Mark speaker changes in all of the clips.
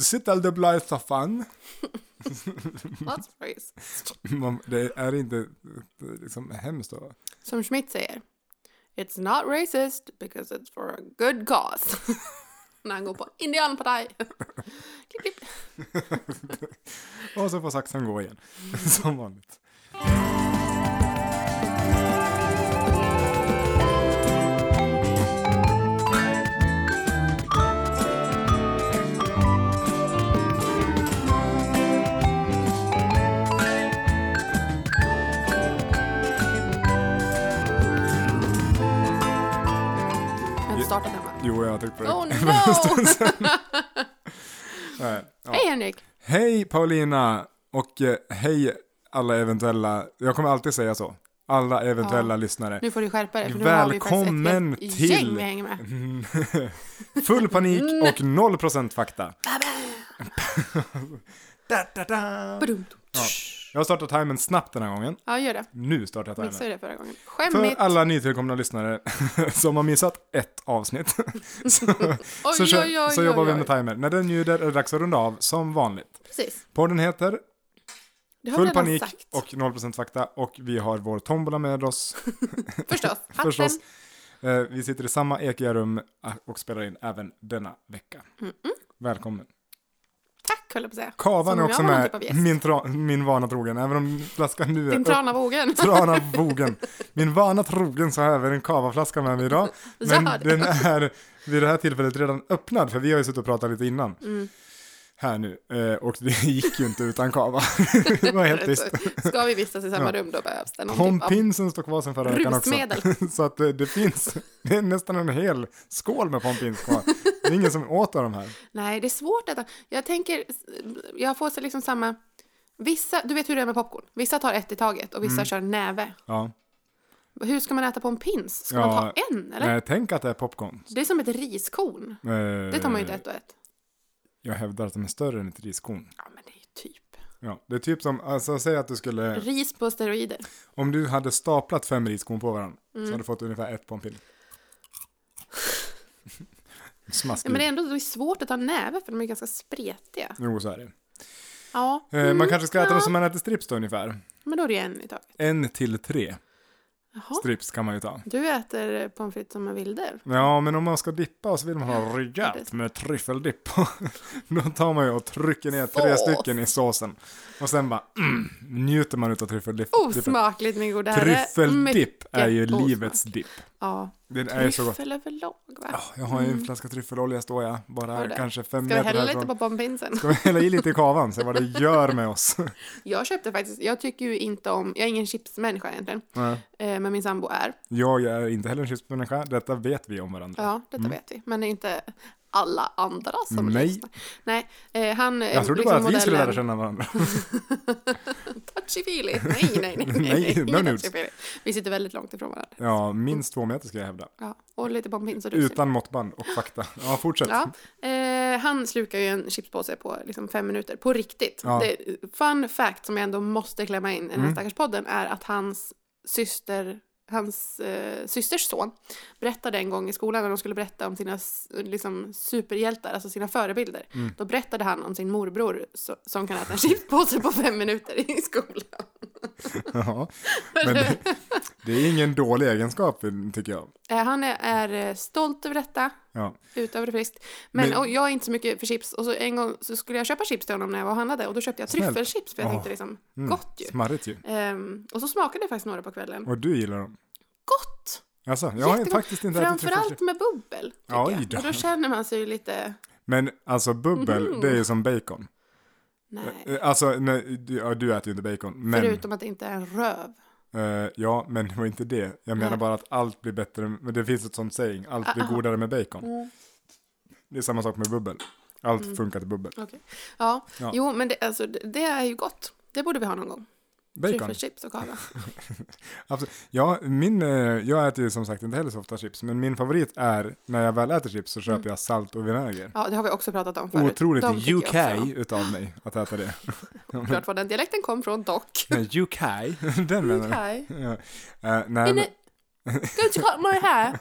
Speaker 1: Sitta och dubbla i soffan.
Speaker 2: That's praise.
Speaker 1: Man- Det är inte liksom hemskt då.
Speaker 2: Som Schmidt säger. It's not racist because it's for a good cause. När han går på indianpartaj. klipp, klipp.
Speaker 1: Och så får saxen gå igen. Som vanligt.
Speaker 2: Jag har inte startat den va?
Speaker 1: Jo, jag tyckte på det.
Speaker 2: Oh no!
Speaker 1: Nej, ja.
Speaker 2: Hej Henrik!
Speaker 1: Hej Paulina! Och eh, hej alla eventuella, jag kommer alltid säga så. Alla eventuella lyssnare.
Speaker 2: Nu får du skärpa dig för nu har vi faktiskt ett
Speaker 1: Välkommen
Speaker 2: helt
Speaker 1: till-
Speaker 2: gäng vi hänger med.
Speaker 1: Full panik och 0% fakta. da, da, da.
Speaker 2: Badum.
Speaker 1: Jag har startat timern snabbt den här gången.
Speaker 2: Ja, gör det.
Speaker 1: Nu startar jag timern.
Speaker 2: Missade det förra gången.
Speaker 1: För
Speaker 2: Skämmigt!
Speaker 1: alla nytillkomna lyssnare som har missat ett avsnitt så,
Speaker 2: Oj,
Speaker 1: så, kör,
Speaker 2: oj, oj,
Speaker 1: så jobbar
Speaker 2: oj,
Speaker 1: vi med
Speaker 2: oj.
Speaker 1: timer. När den ljuder är det dags att runda av som vanligt.
Speaker 2: Precis.
Speaker 1: Podden heter
Speaker 2: Det har vi
Speaker 1: Full
Speaker 2: redan
Speaker 1: panik
Speaker 2: sagt.
Speaker 1: och 0% fakta och vi har vår tombola med oss
Speaker 2: Förstås. Hatten.
Speaker 1: förstås. Eh, Vi sitter i samma ekiga rum eh, och spelar in även denna vecka. Välkommen.
Speaker 2: Tack höll jag på att säga.
Speaker 1: Kavan
Speaker 2: Som
Speaker 1: är
Speaker 2: om jag
Speaker 1: också
Speaker 2: var någon
Speaker 1: med,
Speaker 2: typ av gäst.
Speaker 1: min, tra, min vana trogen, även om flaskan nu är
Speaker 2: Din trana vågen.
Speaker 1: Trana Bogen. Min vana trogen så har jag även en kavaflaska med mig idag. Men
Speaker 2: Ja, det-
Speaker 1: den är vid det här tillfället redan öppnad, för vi har ju suttit och pratat lite innan.
Speaker 2: Mm.
Speaker 1: Här nu. Eh, Och det gick ju inte utan kava. Det var helt tyst.
Speaker 2: Ska vi vistas i samma
Speaker 1: Ja.
Speaker 2: rum då behövs det någon typ av...
Speaker 1: Pompinsen står kvar sen förra veckan också.
Speaker 2: Rusmedel.
Speaker 1: Så att eh, det finns, det är nästan en hel skål med pompins kvar. Det är ingen som åt av de här.
Speaker 2: Nej, det är svårt att... Jag tänker, jag får så liksom samma... Vissa, du vet hur det är med popcorn. Vissa tar ett i taget och vissa
Speaker 1: Mm.
Speaker 2: kör näve.
Speaker 1: Ja.
Speaker 2: Hur ska man äta på en pins? Ska
Speaker 1: Ja,
Speaker 2: man ta en eller?
Speaker 1: Nej, Eh, tänk att det är popcorn. Eh,
Speaker 2: Det är som ett riskorn. Det tar man ju inte ett och ett.
Speaker 1: Jag hävdar att de är större än ett riskorn.
Speaker 2: Ja, men det är ju typ.
Speaker 1: Ja, det är typ som, alltså säg att du skulle...
Speaker 2: Ris på steroider.
Speaker 1: Om du hade staplat fem riskorn på varandra
Speaker 2: Mm.
Speaker 1: så hade du fått ungefär ett på en pin.
Speaker 2: Ja,
Speaker 1: Smaskigt.
Speaker 2: men det är ändå det är svårt att ta näve för de är ganska spretiga.
Speaker 1: Jo, så är det.
Speaker 2: Mm, Ja,
Speaker 1: Eh, man kanske ska äta dem som man äter strips då ungefär.
Speaker 2: men då är det en i taget.
Speaker 1: En till tre
Speaker 2: Jaha.
Speaker 1: strips kan man ju ta.
Speaker 2: Du äter eh, pommes frites som en vilder.
Speaker 1: Ja, men om man ska dippa och så vill man ha rejält med tryffeldipp. då tar man ju och trycker ner tre
Speaker 2: Sås.
Speaker 1: stycken i såsen. Och sen bara mm, njuter man utav tryffeldippen.
Speaker 2: Osmakligt min goda herre.
Speaker 1: Tryffeldipp är ju
Speaker 2: Oh, Mycket
Speaker 1: livets
Speaker 2: osmak.
Speaker 1: dipp.
Speaker 2: Ja.
Speaker 1: Det är så gott.
Speaker 2: Tryffel överlag va?
Speaker 1: Ja, Ah, jag har ju en flaska tryffelolja står jag, bara
Speaker 2: Har du Mm. det?
Speaker 1: kanske fem
Speaker 2: Ska vi
Speaker 1: meter
Speaker 2: hälla
Speaker 1: härifrån.
Speaker 2: lite på pompinsen?
Speaker 1: Ska vi hälla i lite i kavan, se vad det gör med oss.
Speaker 2: Jag köpte faktiskt, jag tycker ju inte om, jag är ingen chipsmänniska egentligen,
Speaker 1: Nej.
Speaker 2: eh, men min sambo är.
Speaker 1: Jag är inte heller en chipsmänniska, detta vet vi om varandra.
Speaker 2: Ja, detta vet vi. Men det är inte alla andra som
Speaker 1: Mm. Nej.
Speaker 2: lyssnar. Nej. Eh, han,
Speaker 1: jag trodde bara att vi skulle lära känna varandra.
Speaker 2: Touchy-feely. Nej, nej, nej.
Speaker 1: Nej,
Speaker 2: Ingen
Speaker 1: no nudes.
Speaker 2: touchy-feely. Vi sitter väldigt långt ifrån varandra.
Speaker 1: Ja, minst två meter ska jag hävda.
Speaker 2: Ja, och lite pompins och russin.
Speaker 1: Utan måttband och fakta. Ja, fortsätt.
Speaker 2: Ja, eh, han slukar ju en chipspåse på liksom fem minuter, på riktigt.
Speaker 1: Ja. Mm.
Speaker 2: Det, fun fact som jag ändå måste klämma in i den här stackars podden är att hans syster, hans eh, systers son berättade en gång i skolan när de skulle berätta om sina s- liksom, superhjältar, alltså sina förebilder.
Speaker 1: Mm.
Speaker 2: Då berättade han om sin morbror so- som kan äta en chipspåse på fem minuter i skolan.
Speaker 1: Ja. Men det, det är ingen dålig egenskap, tycker jag.
Speaker 2: Eh, han är, är eh, stolt över detta.
Speaker 1: Ja.
Speaker 2: Utöver det friskt. Men,
Speaker 1: Men-
Speaker 2: och jag är inte så mycket för chips. Och så en gång så skulle jag köpa chips till honom när jag var och handlade. Och då köpte jag
Speaker 1: Snällt.
Speaker 2: tryffelchips för jag
Speaker 1: Åh.
Speaker 2: tänkte liksom,
Speaker 1: Mm,
Speaker 2: gott ju.
Speaker 1: Smarrigt ju.
Speaker 2: Ehm, och så smakade jag faktiskt några på kvällen.
Speaker 1: Och du gillar dem.
Speaker 2: Gott!
Speaker 1: Alltså, jag har
Speaker 2: Jättegott.
Speaker 1: faktiskt inte ätit
Speaker 2: Framförallt
Speaker 1: tryffelchips.
Speaker 2: med bubbel.
Speaker 1: Ja,
Speaker 2: tycker
Speaker 1: oj då.
Speaker 2: jag. Och då känner man sig ju lite,
Speaker 1: Men alltså bubbel, det
Speaker 2: Mm.
Speaker 1: är ju som bacon.
Speaker 2: nej.
Speaker 1: Eh, Alltså, nej, du, ja, du äter ju inte bacon. Men...
Speaker 2: Förutom att det inte är en röv.
Speaker 1: Eh, ja, men det var inte det. Jag menar
Speaker 2: Nej.
Speaker 1: bara att allt blir bättre, men det finns ett sånt saying, allt blir
Speaker 2: Ah, aha.
Speaker 1: godare med bacon.
Speaker 2: Mm.
Speaker 1: Det är samma sak med bubbel. Allt funkar till bubbel.
Speaker 2: Okej. Ja.
Speaker 1: Ja.
Speaker 2: jo men det, alltså, det, det är ju gott. Det borde vi ha någon gång.
Speaker 1: Bacon.
Speaker 2: Tryffelchips och kava.
Speaker 1: Absolut. Ja, min, eh, jag äter ju som sagt inte heller så ofta chips, men min favorit är när jag väl äter chips så köper jag salt och vinäger.
Speaker 2: Mm. Ja, det har vi också pratat om förut.
Speaker 1: Otroligt
Speaker 2: De tycker jag
Speaker 1: UK
Speaker 2: också om.
Speaker 1: utav mig att äta det.
Speaker 2: Klart var den dialekten kom från dock.
Speaker 1: Nej, UK? Den menar du?
Speaker 2: Okej.
Speaker 1: Ja. Eh, nej, men,
Speaker 2: Inne- Don't you cut my hair?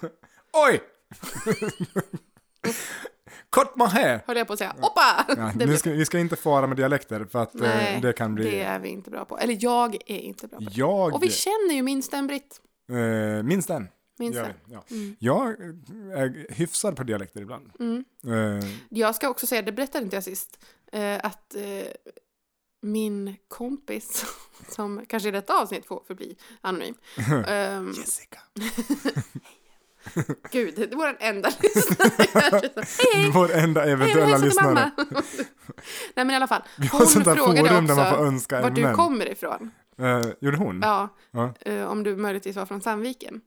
Speaker 1: oj! Cut my hair!
Speaker 2: Höll jag på att säga. Oppa!
Speaker 1: Ja,
Speaker 2: det,
Speaker 1: nu
Speaker 2: blir-
Speaker 1: ska, vi ska inte fara med dialekter för att eh,
Speaker 2: Nej,
Speaker 1: det kan bli...
Speaker 2: det är vi inte bra på. Eller jag är inte bra på det.
Speaker 1: Jag...
Speaker 2: Och vi känner ju minst en britt.
Speaker 1: eh, minns den.
Speaker 2: Minst
Speaker 1: Gör
Speaker 2: en.
Speaker 1: vi, ja. Jag eh, är hyfsad på dialekter ibland.
Speaker 2: Mm.
Speaker 1: Eh,
Speaker 2: Jag ska också säga, det berättade inte jag sist, eh, att eh, min kompis, som kanske i detta avsnitt får förbli anonym. ehm,
Speaker 1: Jessica.
Speaker 2: Gud, det var den enda lyssnaren. Hej, hej!
Speaker 1: Vår enda
Speaker 2: Hej,
Speaker 1: eventuella
Speaker 2: hejsan till
Speaker 1: lyssnare.
Speaker 2: mamma! Nej men i alla fall,
Speaker 1: Vi har
Speaker 2: hon
Speaker 1: sånt där
Speaker 2: frågade
Speaker 1: forum där
Speaker 2: också
Speaker 1: man får önska
Speaker 2: vart du kommer ifrån.
Speaker 1: Eh, gjorde hon?
Speaker 2: Ja,
Speaker 1: Ja.
Speaker 2: eh, om du möjligtvis var från Sandviken.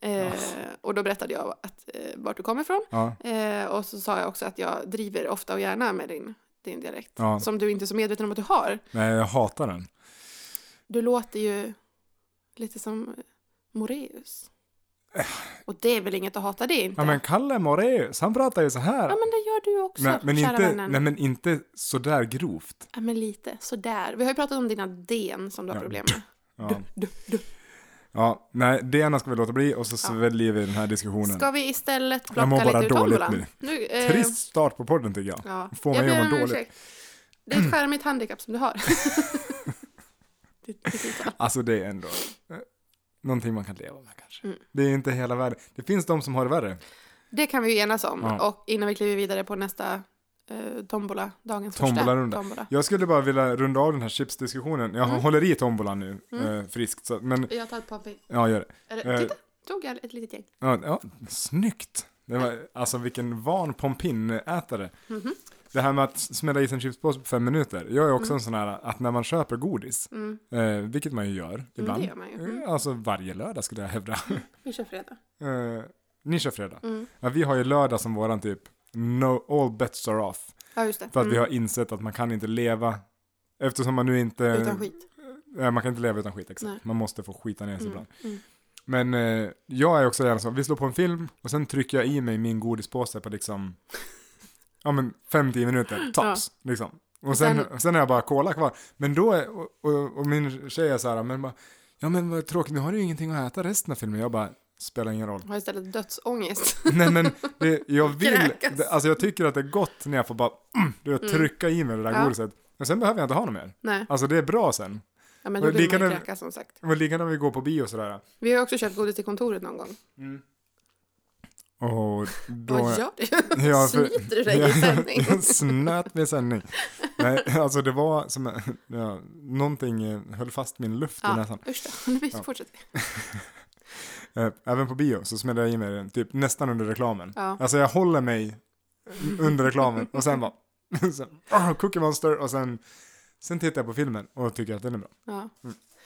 Speaker 2: Eh, och då berättade jag att, eh, vart du kommer ifrån.
Speaker 1: Ja.
Speaker 2: Eh, och så sa jag också att jag driver ofta och gärna med din, din dialekt.
Speaker 1: Ja.
Speaker 2: Som du inte är så medveten om att du har.
Speaker 1: Nej, jag hatar den.
Speaker 2: Du låter ju lite som Moreus. Och det är väl inget att hata det inte?
Speaker 1: Eh. Ja, men Kalle Moraeus, han pratar ju så här.
Speaker 2: Ja, men det gör du också,
Speaker 1: men, men,
Speaker 2: kära
Speaker 1: inte,
Speaker 2: vännen.
Speaker 1: nej, men inte sådär grovt.
Speaker 2: Ja, men lite. Sådär. Vi har ju pratat om dina den som du har
Speaker 1: Ja.
Speaker 2: problem med.
Speaker 1: Ja,
Speaker 2: Du, du.
Speaker 1: ja nej, det ena ska vi låta bli och så sväljer vi den här diskussionen.
Speaker 2: Ska vi istället
Speaker 1: Jag mår
Speaker 2: plocka
Speaker 1: bara
Speaker 2: lite ur
Speaker 1: dåligt
Speaker 2: tombolan?
Speaker 1: nu.
Speaker 2: Nu, eh,
Speaker 1: Trist start på podden tycker jag.
Speaker 2: Ja.
Speaker 1: Får mig
Speaker 2: Jag
Speaker 1: att
Speaker 2: ber
Speaker 1: må
Speaker 2: om
Speaker 1: dåligt.
Speaker 2: ursäkt. Det är ett charmigt handikapp som du har. Det- det är så.
Speaker 1: Alltså det är ändå eh, någonting man kan leva med kanske.
Speaker 2: Mm.
Speaker 1: Det är inte hela världen. Det finns de som har det värre.
Speaker 2: det kan vi ju enas om.
Speaker 1: Ja.
Speaker 2: Och innan vi kliver vidare på nästa eh, tombola, dagens
Speaker 1: Tombolarunda.
Speaker 2: första tombola.
Speaker 1: Jag skulle bara vilja runda av den här chipsdiskussionen. Jag
Speaker 2: Mm.
Speaker 1: håller i tombolan nu, eh, friskt. Så, men
Speaker 2: Jag tar ett par
Speaker 1: ja, gör det.
Speaker 2: Eller,
Speaker 1: Eh.
Speaker 2: titta, tog jag ett litet gäng.
Speaker 1: Ja, ja, snyggt! Det var, alltså vilken van pompineätare.
Speaker 2: Mm-hmm.
Speaker 1: Det här med att smälla i sig en chipspåse på fem minuter. Jag är också en sån här att när man köper godis,
Speaker 2: Mm.
Speaker 1: eh, vilket man ju gör ibland.
Speaker 2: det gör man ju. Mm.
Speaker 1: Eh, Alltså varje lördag skulle jag hävda.
Speaker 2: Vi kör fredag.
Speaker 1: eh, ni kör fredag.
Speaker 2: Mm.
Speaker 1: Ja, vi har ju lördag som våran typ no, all bets are off.
Speaker 2: Ja, just det.
Speaker 1: För att vi
Speaker 2: Mm.
Speaker 1: har insett att man kan inte leva Eftersom man nu inte...
Speaker 2: Mm. Utan skit.
Speaker 1: Nej, man kan inte leva utan skit, exakt.
Speaker 2: Nej.
Speaker 1: Man måste få skita ner sig ibland.
Speaker 2: Mm. Mm.
Speaker 1: Men eh, jag är också gärna så, vi slår på en film och sen trycker jag i mig min godispåse på liksom, ja men 5-10 minuter, tops, liksom. Och sen,
Speaker 2: Sen-
Speaker 1: sen har jag bara cola kvar. Men då, är, och, och, och min tjej är så här, men bara, ja men vad tråkigt, nu har du ju ingenting att äta resten av filmen. Jag bara, spelar ingen roll.
Speaker 2: Har istället dödsångest.
Speaker 1: Nej men, det, jag vill,
Speaker 2: Kräkas.
Speaker 1: det, alltså jag tycker att det är gott när jag får bara, mm, du vet, trycka i mig det där
Speaker 2: Ja.
Speaker 1: godiset. Men sen behöver jag inte ha något mer.
Speaker 2: Nej,
Speaker 1: Alltså det är bra sen.
Speaker 2: ja, men
Speaker 1: Och
Speaker 2: då blir man ju
Speaker 1: likadant-
Speaker 2: kräkas som sagt.
Speaker 1: Och likadant när vi går på bio och sådär.
Speaker 2: Vi har ju också köpt godis till kontoret någon gång.
Speaker 1: Och då...
Speaker 2: Vad gör du?
Speaker 1: Ja, för-
Speaker 2: Snyter du dig i sändning?
Speaker 1: Jag snöt mig i sändning. Nej, alltså det var som, ja, någonting eh, höll fast min luft i
Speaker 2: Ja,
Speaker 1: näsan.
Speaker 2: usch då. Nu ja. fortsätter vi.
Speaker 1: Eh, Även på bio så smällde jag i mig den, typ nästan under reklamen.
Speaker 2: Ja.
Speaker 1: Alltså jag håller mig under reklamen och sen bara, sen, oh, Cookie Monster och sen, sen tittar jag på filmen och tycker att den är bra.
Speaker 2: Ja.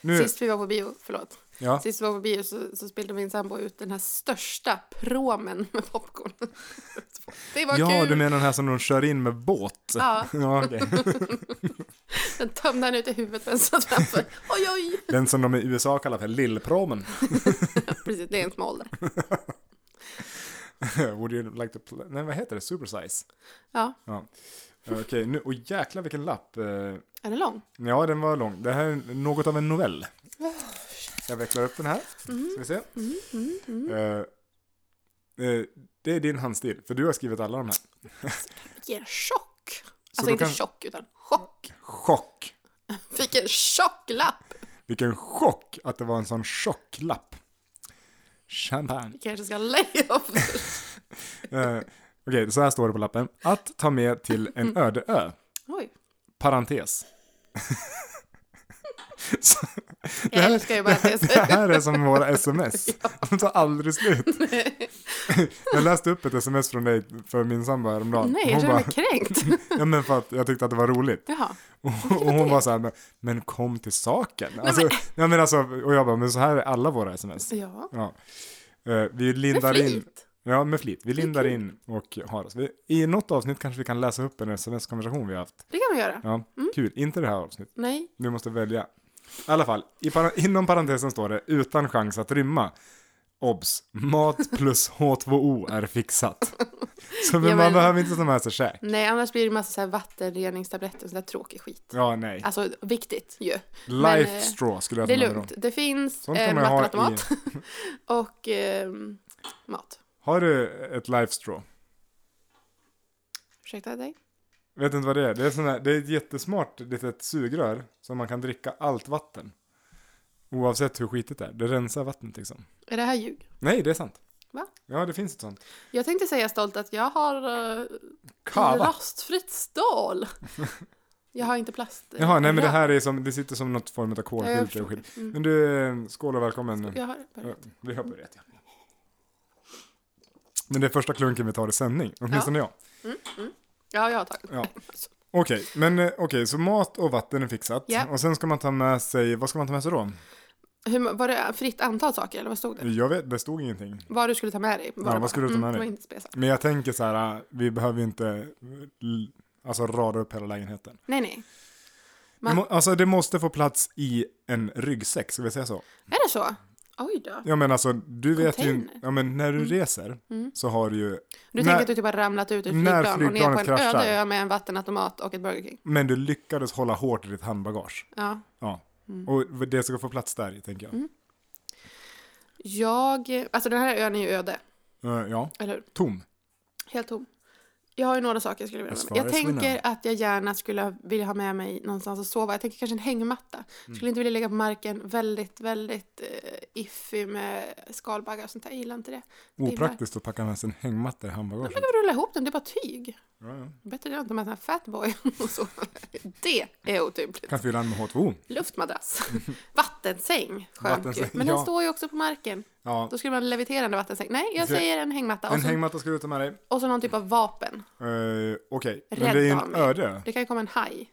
Speaker 1: Nu,
Speaker 2: Sist vi var på bio, förlåt.
Speaker 1: ja,
Speaker 2: Sist vi var på bio så, så spelade min sambo ut den här största promen med popcorn. Det var
Speaker 1: ja
Speaker 2: kul!
Speaker 1: du menar den här som de kör in med båt?
Speaker 2: Ja.
Speaker 1: ja okej.
Speaker 2: Den tömde han ut i huvudet på en satt framför. Oj, oj!
Speaker 1: Den som de i USA kallar för lillpromen.
Speaker 2: Precis, det är en som ålder.
Speaker 1: Would you like to play? Nej vad heter det? Supersize?
Speaker 2: Ja,
Speaker 1: Okej, nu, och jäklar vilken lapp. eh,
Speaker 2: är den lång?
Speaker 1: Ja, den var lång. Det här är något av en novell. Jag vecklar upp den här.
Speaker 2: Mm-hmm.
Speaker 1: Ska vi se. Eh, eh, det är din handstil, för du har skrivit alla de här.
Speaker 2: Vilken chock!
Speaker 1: då
Speaker 2: Alltså inte
Speaker 1: kan-
Speaker 2: chock, utan chock.
Speaker 1: Chock!
Speaker 2: Vilken tjock lapp!
Speaker 1: Vilken chock att det var en sån tjock lapp. Champagne.
Speaker 2: Vi kanske ska lägga upp det.
Speaker 1: Eh, Okej, så här står det på lappen. Att ta med till en öde ö.
Speaker 2: Oj.
Speaker 1: Parentes. Så- det,
Speaker 2: Jag
Speaker 1: här,
Speaker 2: älskar ju bara att det är
Speaker 1: det
Speaker 2: så.
Speaker 1: här är som våra sms. De tar aldrig slut. Jag läste upp ett sms från dig för min sambo häromdagen.
Speaker 2: Nej,
Speaker 1: hon
Speaker 2: jag känner
Speaker 1: bara,
Speaker 2: mig kränkt.
Speaker 1: ja, men för att jag tyckte att det var roligt.
Speaker 2: Jaha.
Speaker 1: Och, och hon var så här, men, men kom till saken. Alltså, ja, men alltså, och jag bara, men så här är alla våra sms.
Speaker 2: Ja.
Speaker 1: Ja. Eh, Vi lindar
Speaker 2: Med
Speaker 1: in.
Speaker 2: flit.
Speaker 1: Ja, med flit. Vi lindar in och har oss. Vi, I något avsnitt kanske vi kan läsa upp en sms-konversation vi har haft.
Speaker 2: Det kan man göra.
Speaker 1: Ja, kul. Inte det här avsnittet.
Speaker 2: Nej.
Speaker 1: Du måste välja. I alla fall, i para- inom parentesen står det utan chans att rymma. Obs! Mat plus H2O är fixat. Så men
Speaker 2: Ja,
Speaker 1: man
Speaker 2: men-
Speaker 1: behöver inte ta med sig käk.
Speaker 2: Nej, annars blir det massa så här vattenreningstabletter och sån där tråkig skit.
Speaker 1: Ja, nej.
Speaker 2: Alltså, viktigt ju. men,
Speaker 1: Life
Speaker 2: eh,
Speaker 1: straw skulle jag
Speaker 2: Det är
Speaker 1: ta med mig
Speaker 2: lugnt.
Speaker 1: då.
Speaker 2: Det finns
Speaker 1: Sånt
Speaker 2: eh,
Speaker 1: kan man ha
Speaker 2: matematik och ehm, mat.
Speaker 1: Har du ett life straw?
Speaker 2: Ursäkta dig?
Speaker 1: Vet inte vad det är? Det är, sån här, det är ett jättesmart litet sugrör som man kan dricka allt vatten. Oavsett hur skitigt det är. Det rensar vattnet liksom.
Speaker 2: Är det här ljug?
Speaker 1: Nej, det är sant.
Speaker 2: Va?
Speaker 1: Ja, det finns ett sånt.
Speaker 2: Jag tänkte säga stolt att jag har eh,
Speaker 1: Kava.
Speaker 2: rostfritt stål. Jag har inte plast. eh,
Speaker 1: Jaha, nej men det
Speaker 2: rör.
Speaker 1: här är som, det sitter som något form av
Speaker 2: Ja, jag
Speaker 1: kolfilter och
Speaker 2: förstår.
Speaker 1: skit.
Speaker 2: Mm.
Speaker 1: Men du, eh, skål och välkommen.
Speaker 2: Jag har
Speaker 1: Ja, Vi har börjat ja. Men det är första klunken vi tar i sändning, åtminstone jag.
Speaker 2: Ja, jag har tagit.
Speaker 1: Ja. Okej, men eh, okej, så mat och vatten är fixat.
Speaker 2: Ja.
Speaker 1: Och sen ska man ta med sig, vad ska man ta med sig då?
Speaker 2: Hur, var det fritt antal saker eller vad stod det?
Speaker 1: Jag vet, det stod ingenting.
Speaker 2: Vad du skulle ta med dig? var
Speaker 1: Ja,
Speaker 2: det
Speaker 1: vad skulle du ta med
Speaker 2: Mm, det
Speaker 1: dig?
Speaker 2: var inte speciellt.
Speaker 1: Men jag tänker så här, eh, vi behöver ju inte eh, l- alltså, rada upp hela lägenheten.
Speaker 2: Nej, nej.
Speaker 1: Det
Speaker 2: Man-
Speaker 1: må, alltså det måste få plats i en ryggsäck, ska vi säga så?
Speaker 2: Är det så? Oj då.
Speaker 1: Ja men alltså, du vet ju,
Speaker 2: Container. Mm.
Speaker 1: ja, men när du reser så har du ju,
Speaker 2: Du
Speaker 1: När-
Speaker 2: tänker att du typ har ramlat ut ur
Speaker 1: när
Speaker 2: flygplan och ner på en
Speaker 1: flygplanet kraschar.
Speaker 2: öde ö med en vattenautomat och ett Burger King.
Speaker 1: men du lyckades hålla hårt i ditt handbagage.
Speaker 2: Ja.
Speaker 1: Ja.
Speaker 2: Mm.
Speaker 1: Och det ska få plats där, tänker jag.
Speaker 2: Jag, alltså den här ön är ju öde,
Speaker 1: Eh, ja,
Speaker 2: eller hur?
Speaker 1: tom.
Speaker 2: Helt tom. Jag har ju några saker jag skulle vilja
Speaker 1: As
Speaker 2: ha
Speaker 1: far
Speaker 2: med mig. Jag
Speaker 1: as we
Speaker 2: tänker att jag gärna skulle vilja ha med mig någonstans att sova. Jag tänker kanske en hängmatta.
Speaker 1: Mm.
Speaker 2: Skulle inte vilja ligga på marken väldigt, väldigt uh, iffy med skalbaggar och sånt där. Jag gillar inte det.
Speaker 1: Opraktiskt att packa med sig en hängmatta i handbagaget.
Speaker 2: Jag kan rulla ihop den, det är bara tyg.
Speaker 1: Ja, ja.
Speaker 2: Bättre än att ta med en sån här fatboy och sova. Det är otympligt.
Speaker 1: Kan fylla den med H2O.
Speaker 2: Luftmadrass. Vattensäng. Skönt ju.
Speaker 1: Vattensäng,
Speaker 2: Men
Speaker 1: ja.
Speaker 2: den står ju också på marken.
Speaker 1: Ja.
Speaker 2: Då alltså- skulle man ha en leviterande vattensäng. Nej, jag
Speaker 1: Okej.
Speaker 2: säger en hängmatta. Och
Speaker 1: En
Speaker 2: så,
Speaker 1: hängmatta ska du ta med dig.
Speaker 2: och så någon typ av vapen.
Speaker 1: Uh, Okej, men
Speaker 2: Rädd
Speaker 1: det är
Speaker 2: av
Speaker 1: en
Speaker 2: mig.
Speaker 1: öde
Speaker 2: Det kan ju komma en haj.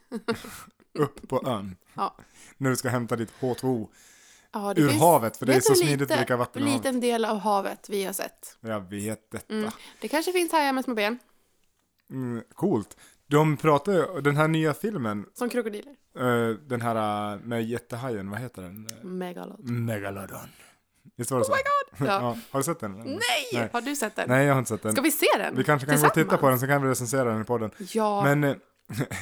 Speaker 1: upp på ön.
Speaker 2: Ja.
Speaker 1: När du ska hämta ditt H2O
Speaker 2: Ja, det
Speaker 1: ur
Speaker 2: finns-
Speaker 1: havet, för det är
Speaker 2: vet du
Speaker 1: så
Speaker 2: hur
Speaker 1: smidigt
Speaker 2: lite-
Speaker 1: att dricka vatten ur havet.
Speaker 2: liten del av havet vi har sett.
Speaker 1: Jag vet detta.
Speaker 2: Mm.
Speaker 1: Mm.
Speaker 2: Det kanske finns hajar med små ben,
Speaker 1: coolt. De pratar ju, den här nya filmen,
Speaker 2: som krokodiler.
Speaker 1: eh, den här eh, med jättehajen, vad heter den?
Speaker 2: Megalod.
Speaker 1: Megalodon. Visst var det så? Oh my
Speaker 2: Ja.
Speaker 1: ja. Har du sett den? eller?
Speaker 2: Nej!
Speaker 1: Nej.
Speaker 2: Har du sett den?
Speaker 1: Nej, jag har inte sett den.
Speaker 2: Ska vi se den?
Speaker 1: Vi kanske kan gå och titta på den så kan vi recensera den i podden.
Speaker 2: Ja.
Speaker 1: Men eh,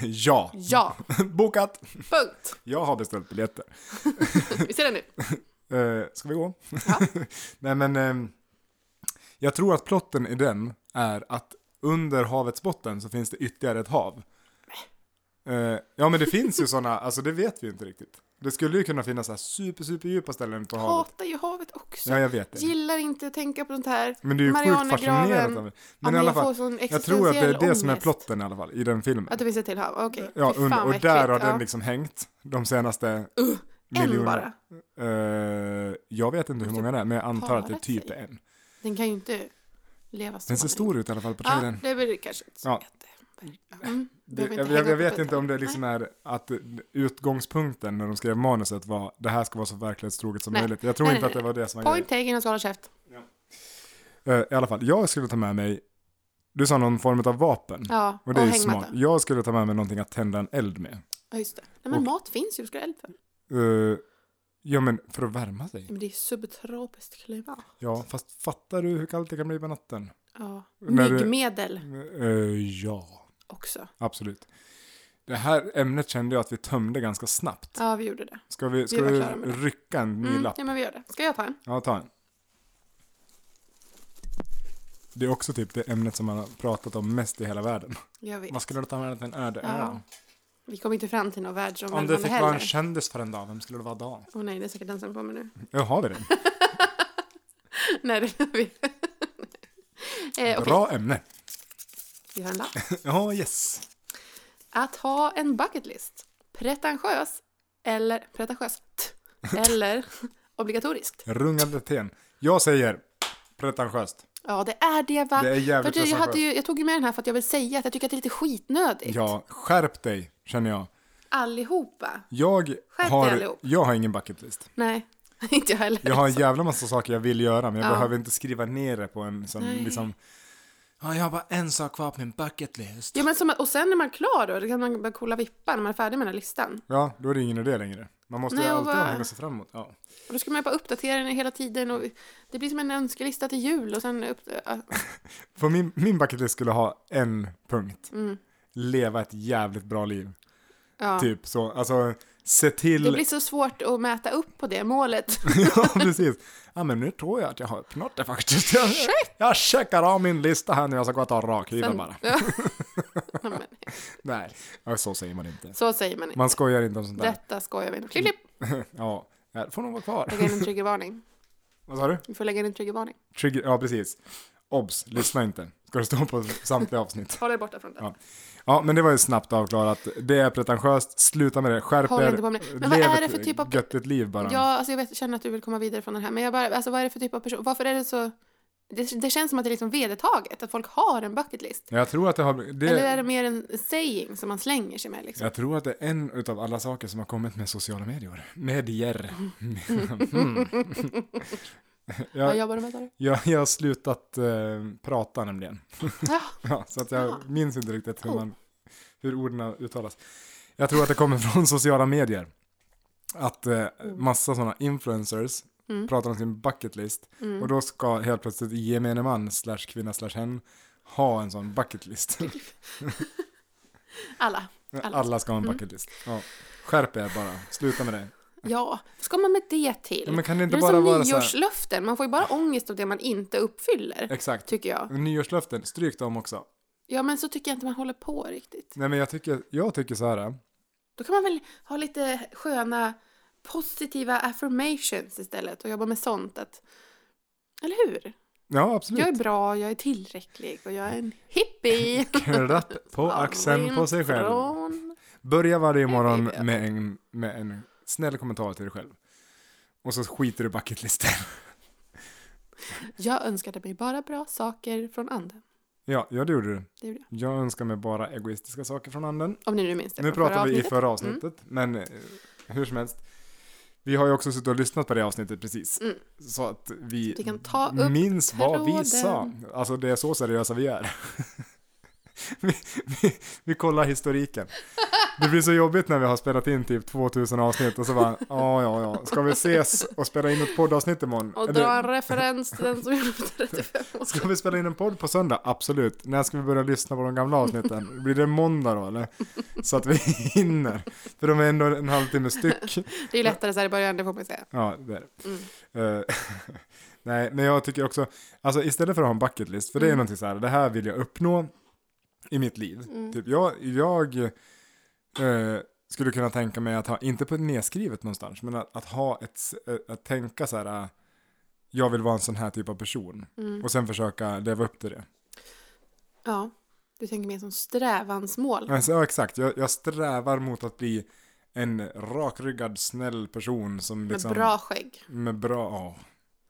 Speaker 1: ja,
Speaker 2: Ja,
Speaker 1: bokat!
Speaker 2: punkt.
Speaker 1: Jag har beställt biljetter.
Speaker 2: Vi ser den nu.
Speaker 1: Eh, ska vi gå?
Speaker 2: Ja.
Speaker 1: Nej men, eh, jag tror att plotten i den är att under havets botten så finns det ytterligare ett hav. Eh, ja men det finns ju sådana, alltså det vet vi ju inte riktigt. Det skulle ju kunna finnas så här super, super djupa ställen på havet.
Speaker 2: Hatar ju havet också.
Speaker 1: Ja jag vet det.
Speaker 2: Gillar inte att tänka på sånt här.
Speaker 1: Men det är ju sjukt
Speaker 2: Marianergraven.
Speaker 1: fascinerat av det. Men i alla fall,
Speaker 2: sån
Speaker 1: jag tror att det är det som är
Speaker 2: ångest.
Speaker 1: plotten i alla fall, i den filmen.
Speaker 2: Att det finns ett till hav, okej.
Speaker 1: Ja,
Speaker 2: Fy
Speaker 1: und-
Speaker 2: fan
Speaker 1: och
Speaker 2: vad
Speaker 1: där har
Speaker 2: äckligt.
Speaker 1: den liksom hängt de senaste
Speaker 2: Uh, En bara. Typ
Speaker 1: Eh, jag vet inte hur många det är, men jag antar att det
Speaker 2: parat
Speaker 1: typ
Speaker 2: sig.
Speaker 1: är en.
Speaker 2: Den kan ju inte leva så.
Speaker 1: Den ser stor ut i alla fall på
Speaker 2: Ja,
Speaker 1: trailern.
Speaker 2: det blir kanske inte så
Speaker 1: Ja.
Speaker 2: jätte... Mm,
Speaker 1: Det,
Speaker 2: behöver
Speaker 1: jag,
Speaker 2: hänga
Speaker 1: jag, jag
Speaker 2: upp
Speaker 1: vet
Speaker 2: det.
Speaker 1: inte om det liksom är att eh, utgångspunkten när de skrev manuset var det här ska vara så verklighetstroget som
Speaker 2: Nej.
Speaker 1: möjligt. Jag tror
Speaker 2: Nej,
Speaker 1: inte
Speaker 2: nej,
Speaker 1: att det var det som var
Speaker 2: Point taken, jag ska hålla käft.
Speaker 1: grejen. Eh, I alla fall, jag skulle ta med mig, du sa någon form av vapen.
Speaker 2: Ja, och,
Speaker 1: Och det är ju smart.
Speaker 2: hängmatta.
Speaker 1: Jag skulle ta med mig någonting att tända en eld med.
Speaker 2: Ja, just det. Nej, men
Speaker 1: Och-
Speaker 2: mat finns ju, vad ska du ha eld för?
Speaker 1: Eh, ja men för att värma sig.
Speaker 2: Men det är subtropiskt klimat.
Speaker 1: Ja, fast fattar du hur kallt det kan bli på natten?
Speaker 2: Ja.
Speaker 1: När du-
Speaker 2: Myggmedel
Speaker 1: Eh, ja.
Speaker 2: också.
Speaker 1: Absolut. Det här ämnet kände jag att vi tömde ganska snabbt.
Speaker 2: Ja, vi gjorde det.
Speaker 1: Ska vi, ska
Speaker 2: Vi var
Speaker 1: vi
Speaker 2: klara med det.
Speaker 1: rycka en ny
Speaker 2: Mm,
Speaker 1: lapp?
Speaker 2: ja, men vi gör det. Ska jag ta en?
Speaker 1: Ja, ta en. Det är också typ det ämnet som man har pratat om mest i hela världen.
Speaker 2: Jag vet.
Speaker 1: Vad skulle du ta med dig till en öde ö?
Speaker 2: Ja, Vi kommer inte fram till något
Speaker 1: Om du
Speaker 2: världsomvälvande
Speaker 1: fick vara en
Speaker 2: heller.
Speaker 1: kändis för en dag, vem skulle du vara då?
Speaker 2: Åh nej, det är säkert den som kommer nu.
Speaker 1: Ja, har vi det?
Speaker 2: nej, det är vi. eh, Okej,
Speaker 1: Bra ämne.
Speaker 2: vi har en lapp.
Speaker 1: Ja, yes.
Speaker 2: Att ha en bucket list. Pretentiös eller pretentiöst eller obligatoriskt.
Speaker 1: Rungande ten. Jag säger pretentiöst.
Speaker 2: Ja, det är det va?
Speaker 1: Det är jävligt
Speaker 2: För du, jag, hade
Speaker 1: pretentiöst.
Speaker 2: ju, jag tog ju med den här för att jag vill säga att jag tycker att det är lite skitnödigt.
Speaker 1: Ja, skärp dig, känner jag.
Speaker 2: Allihopa.
Speaker 1: Jag
Speaker 2: dig
Speaker 1: har,
Speaker 2: allihop.
Speaker 1: jag har ingen bucket list.
Speaker 2: Nej, inte jag heller.
Speaker 1: Jag har en jävla massa saker jag vill göra men jag
Speaker 2: Ja.
Speaker 1: behöver inte skriva ner det på en sån
Speaker 2: Nej.
Speaker 1: liksom Ja, jag har bara en sak kvar på min bucket list.
Speaker 2: Ja, men som att, och sen när man är klar då, då kan man börja kolla vippan när man är färdig med den här listan.
Speaker 1: Ja, då är det ingen idé längre. Man måste
Speaker 2: Nej,
Speaker 1: ju
Speaker 2: och
Speaker 1: alltid
Speaker 2: bara-
Speaker 1: ha något att se fram emot. Ja.
Speaker 2: Och då ska man bara uppdatera den hela tiden och det blir som en önskelista till jul och sen upp... ja,
Speaker 1: För min, min bucket list skulle ha en punkt.
Speaker 2: Mm.
Speaker 1: Leva ett jävligt bra liv.
Speaker 2: Ja,
Speaker 1: Typ så. Alltså, se till...
Speaker 2: Det blir så svårt att mäta upp på det målet.
Speaker 1: ja, precis. Ja, men nu tror jag att jag har uppnått det faktiskt. Jag, jag checkar av min lista här nu, jag ska gå och ta rakhyveln bara.
Speaker 2: Ja. Ja, men,
Speaker 1: Nej, ja, så säger man inte.
Speaker 2: så säger man inte.
Speaker 1: Man skojar inte om sånt där.
Speaker 2: Detta skojar vi inte. Klipp, klipp.
Speaker 1: Ja, här får nog vara kvar.
Speaker 2: Lägga in en triggervarning.
Speaker 1: Vad sa du?
Speaker 2: Vi får lägga in en triggervarning.
Speaker 1: Trigger, ja, precis. Obs, lyssna inte. Ska det stå på samtliga avsnitt.
Speaker 2: Håll dig borta från det.
Speaker 1: Ja. Ja, men det var ju snabbt avklarat. Det är pretentiöst, sluta med det, skärp
Speaker 2: Håll
Speaker 1: er.
Speaker 2: inte på med det. Men vad
Speaker 1: Lev
Speaker 2: är det
Speaker 1: ett
Speaker 2: för typ av-
Speaker 1: Göttigt liv bara.
Speaker 2: Ja, alltså jag vet, känner att du vill komma vidare från den här, men jag bara, alltså vad är det för typ av person? Varför är det så? Det, det känns som att det är liksom vedertaget, att folk har en bucket list.
Speaker 1: Jag tror att det har... Det,
Speaker 2: Eller är det mer en saying som man slänger sig med liksom?
Speaker 1: Jag tror att det är en utav alla saker som har kommit med sociala medier. Medier.
Speaker 2: Vad
Speaker 1: jag,
Speaker 2: jobbar du med, sa du?
Speaker 1: jag, jag har slutat eh, prata nämligen.
Speaker 2: Ja,
Speaker 1: Ja, så att jag
Speaker 2: Ja.
Speaker 1: minns inte riktigt hur,
Speaker 2: Ah. Oh.
Speaker 1: man, hur orden uttalas. Jag tror att det kommer från sociala medier. Att eh, massa sådana influencers
Speaker 2: Oh. Mm.
Speaker 1: pratar om sin bucket list.
Speaker 2: Mm.
Speaker 1: Och då ska helt plötsligt gemene man slash kvinna slash hen ha en sån bucket list.
Speaker 2: alla. Alla. Mm.
Speaker 1: Alla ska ha en bucket list. Ja. Skärp er bara, sluta med det.
Speaker 2: Ja, vad ska man med det till?
Speaker 1: Ja, men kan det inte
Speaker 2: det är
Speaker 1: bara
Speaker 2: som
Speaker 1: vara så här?
Speaker 2: nyårslöften, man får ju bara ångest av det man inte uppfyller,
Speaker 1: Exakt.
Speaker 2: tycker jag.
Speaker 1: Nyårslöften, stryk dem också.
Speaker 2: Ja, men så tycker jag inte man håller på riktigt.
Speaker 1: Nej men jag tycker, jag tycker så här.
Speaker 2: Då kan man väl ha lite sköna positiva affirmations istället och jobba med sånt att... Eller hur?
Speaker 1: Ja absolut.
Speaker 2: Jag är bra, jag är tillräcklig och jag är en hippie.
Speaker 1: Klapp på axeln på sig själv.
Speaker 2: Från-
Speaker 1: Börja varje
Speaker 2: Hej,
Speaker 1: morgon
Speaker 2: baby.
Speaker 1: med en, med en snäll kommentar till dig själv. Och så skiter du i bucketlisten.
Speaker 2: Jag önskade mig bara bra saker från anden.
Speaker 1: Ja, ja det gjorde du.
Speaker 2: Det gjorde jag.
Speaker 1: Jag önskar mig bara egoistiska saker från anden.
Speaker 2: Om ni nu minns det.
Speaker 1: Nu
Speaker 2: från förra
Speaker 1: pratar vi i
Speaker 2: avsnittet. Mm.
Speaker 1: förra avsnittet, men eh, hur som helst. Vi har ju också suttit och lyssnat på det avsnittet precis.
Speaker 2: Mm.
Speaker 1: Så att vi
Speaker 2: Vi kan ta upp...
Speaker 1: minns vad vi
Speaker 2: tråden.
Speaker 1: sa. Alltså det är så seriösa vi är. vi, vi, vi kollar historiken. Det blir så jobbigt när vi har spelat in typ 2000 avsnitt och så bara, ja, ja, ja, ska vi ses och spela in ett poddavsnitt imorgon?
Speaker 2: Och
Speaker 1: Eller,
Speaker 2: dra en referens till den som gjorde för 35 år
Speaker 1: Ska
Speaker 2: sedan.
Speaker 1: vi spela in en podd på söndag? Absolut. När ska vi börja lyssna på de gamla avsnitten? Blir det måndag då eller? Så att vi hinner. För de är ändå en halvtimme styck.
Speaker 2: Det är ju lättare så här i början, det får man ju säga.
Speaker 1: Ja, det är det.
Speaker 2: Mm.
Speaker 1: Eh, nej, men jag tycker också, alltså istället för att ha en bucket list, för det är
Speaker 2: Mm.
Speaker 1: någonting så här, det här vill jag uppnå i mitt liv.
Speaker 2: Mm.
Speaker 1: Typ, jag, jag eh, skulle kunna tänka mig att ha, inte på ett nedskrivet någonstans, men att, att ha ett, s- eh, att tänka så här, eh, jag vill vara en sån här typ av person.
Speaker 2: Mm.
Speaker 1: Och sen försöka leva upp till det.
Speaker 2: Ja, du tänker mer som strävansmål.
Speaker 1: Alltså, ja, exakt, jag, jag strävar mot att bli en rakryggad, snäll person som
Speaker 2: Med
Speaker 1: liksom...
Speaker 2: bra skägg.
Speaker 1: Med bra, ja.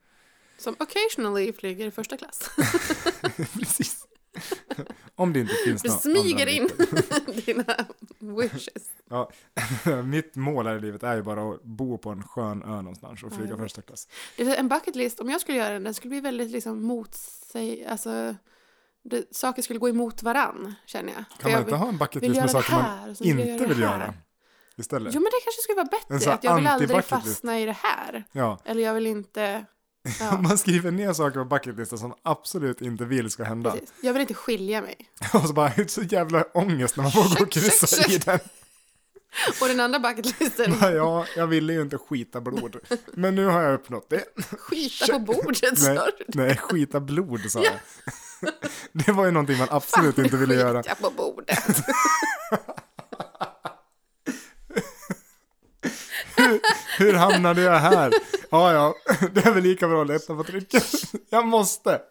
Speaker 2: Som occasionally flyger i första klass.
Speaker 1: Precis. Om det inte finns
Speaker 2: Du
Speaker 1: några
Speaker 2: smyger
Speaker 1: andra
Speaker 2: in dina wishes.
Speaker 1: bitar. Mitt mål här i livet är ju bara att bo på en skön ö någonstans och
Speaker 2: Ja,
Speaker 1: flyga
Speaker 2: jag vet.
Speaker 1: första klass.
Speaker 2: Det är En bucket list, om jag skulle göra den, den skulle bli väldigt liksom motsäg... Alltså, det, saker skulle gå emot varann, känner jag. För
Speaker 1: Kan
Speaker 2: jag
Speaker 1: man inte ha en bucket
Speaker 2: vill, vill
Speaker 1: list med
Speaker 2: göra det
Speaker 1: saker man
Speaker 2: här, och sen vill jag
Speaker 1: inte
Speaker 2: det
Speaker 1: vill
Speaker 2: här.
Speaker 1: göra? Istället?
Speaker 2: Jo, men det kanske skulle vara
Speaker 1: En sån
Speaker 2: bättre.
Speaker 1: här
Speaker 2: Att jag vill aldrig
Speaker 1: anti-bucket list.
Speaker 2: fastna i det här.
Speaker 1: Ja.
Speaker 2: Eller jag vill inte...
Speaker 1: Om
Speaker 2: Ja,
Speaker 1: Man skriver ner saker på bucketlistan som absolut inte vill ska hända.
Speaker 2: precis. Jag vill inte skilja mig.
Speaker 1: Och så bara, det är så jävla ångest när man får gå och
Speaker 2: Check, check,
Speaker 1: kryssa i
Speaker 2: check.
Speaker 1: den.
Speaker 2: Och den andra bucketlisten,
Speaker 1: Bara, Ja, jag ville ju inte skita blod. Men nu har jag uppnått det.
Speaker 2: skita på bordet,
Speaker 1: Nej,
Speaker 2: sa du.
Speaker 1: nej skita blod sa jag. Det var ju någonting man absolut inte ville
Speaker 2: Skita
Speaker 1: göra.
Speaker 2: på bordet.
Speaker 1: Hur hamnade jag här? Ja, ja, det är väl lika bra att lätta på trycket. Jag måste.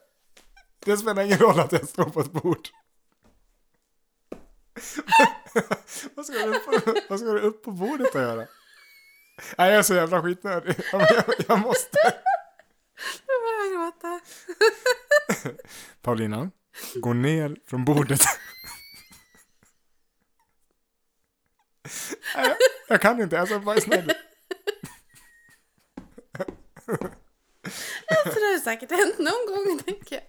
Speaker 1: Det spelar ingen roll att jag står på ett bord. vad, ska du upp på, vad ska du upp på bordet att göra? Nej, jag är så jävla skitnödig. Ja, men Jag, jag måste.
Speaker 2: Jag börjar gråta.
Speaker 1: Paulina, gå ner från bordet. Nej, jag, jag kan inte, alltså var snäll.
Speaker 2: Så det har säkert hänt någon gång, tänker jag.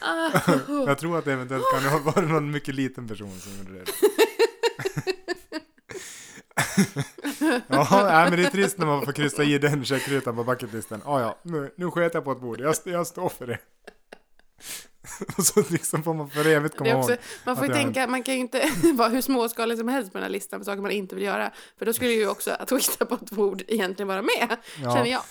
Speaker 2: Ah,
Speaker 1: Jag tror att det eventuellt kan ha varit någon mycket liten person som gjorde det. ja, nej, men det är trist när man får kryssa i den checkrutan på bucketlisten. Ah, ja, nu, nu sket jag på ett bord. Jag, st- jag står för det. Och så liksom får man för evigt
Speaker 2: Det
Speaker 1: komma
Speaker 2: är också,
Speaker 1: ihåg.
Speaker 2: man får
Speaker 1: att
Speaker 2: ju
Speaker 1: jag-
Speaker 2: tänka, man kan ju inte vara hur småskalig som helst med den här listan på saker man inte vill göra. För då skulle ju också att skita på ett bord egentligen vara med, känner jag.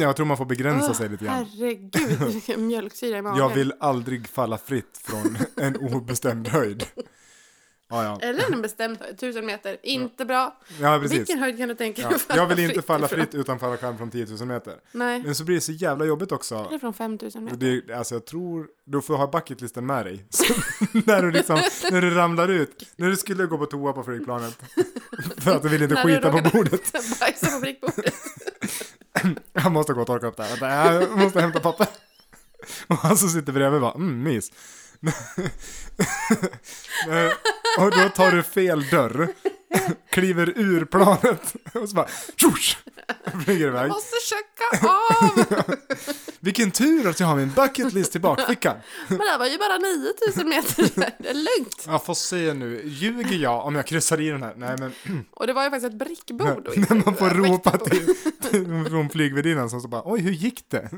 Speaker 1: Jag tror man får begränsa
Speaker 2: Åh,
Speaker 1: sig lite grann.
Speaker 2: herregud, vilken mjölksyra i magen.
Speaker 1: Jag vill aldrig falla fritt från en obestämd höjd. Ja, ja.
Speaker 2: Eller en bestämd höjd, tusen meter. Inte bra.
Speaker 1: ja precis.
Speaker 2: Vilken höjd kan du tänka dig
Speaker 1: Ja.
Speaker 2: falla
Speaker 1: Jag vill inte
Speaker 2: fritt
Speaker 1: falla
Speaker 2: ifrån?
Speaker 1: fritt utan falla skärm från 10 000 meter.
Speaker 2: Nej,
Speaker 1: Men så blir det så jävla jobbigt också.
Speaker 2: eller från 5000 meter.
Speaker 1: Det, är- alltså jag tror, du får ha bucketlisten med dig. Så, när, du liksom, när du ramlar ut, när du skulle gå på toa på flygplanet. För att du vill inte
Speaker 2: När du
Speaker 1: skita på
Speaker 2: råkade-
Speaker 1: bordet.
Speaker 2: Bajsa på brickbordet.
Speaker 1: Jag måste gå och torka upp det här. Vänta, Jag måste hämta papper. Och han som sitter bredvid bara, mm, mys. Nej, och då tar du fel dörr. Kliver ur planet. Och så bara, tjosch! Flyger iväg.
Speaker 2: Måste checka av!
Speaker 1: Vilken tur att jag har min bucket list i bakfickan.
Speaker 2: Men det här var ju bara 9000 meter. Det är lugnt.
Speaker 1: Jag får se nu, ljuger jag om jag kryssar i den här? Nej men,
Speaker 2: Och det var ju faktiskt ett brickbord. och inte
Speaker 1: när man får
Speaker 2: ett riktigt
Speaker 1: ropa
Speaker 2: bord.
Speaker 1: till, till från flygvärdinnan som så bara, oj hur gick det?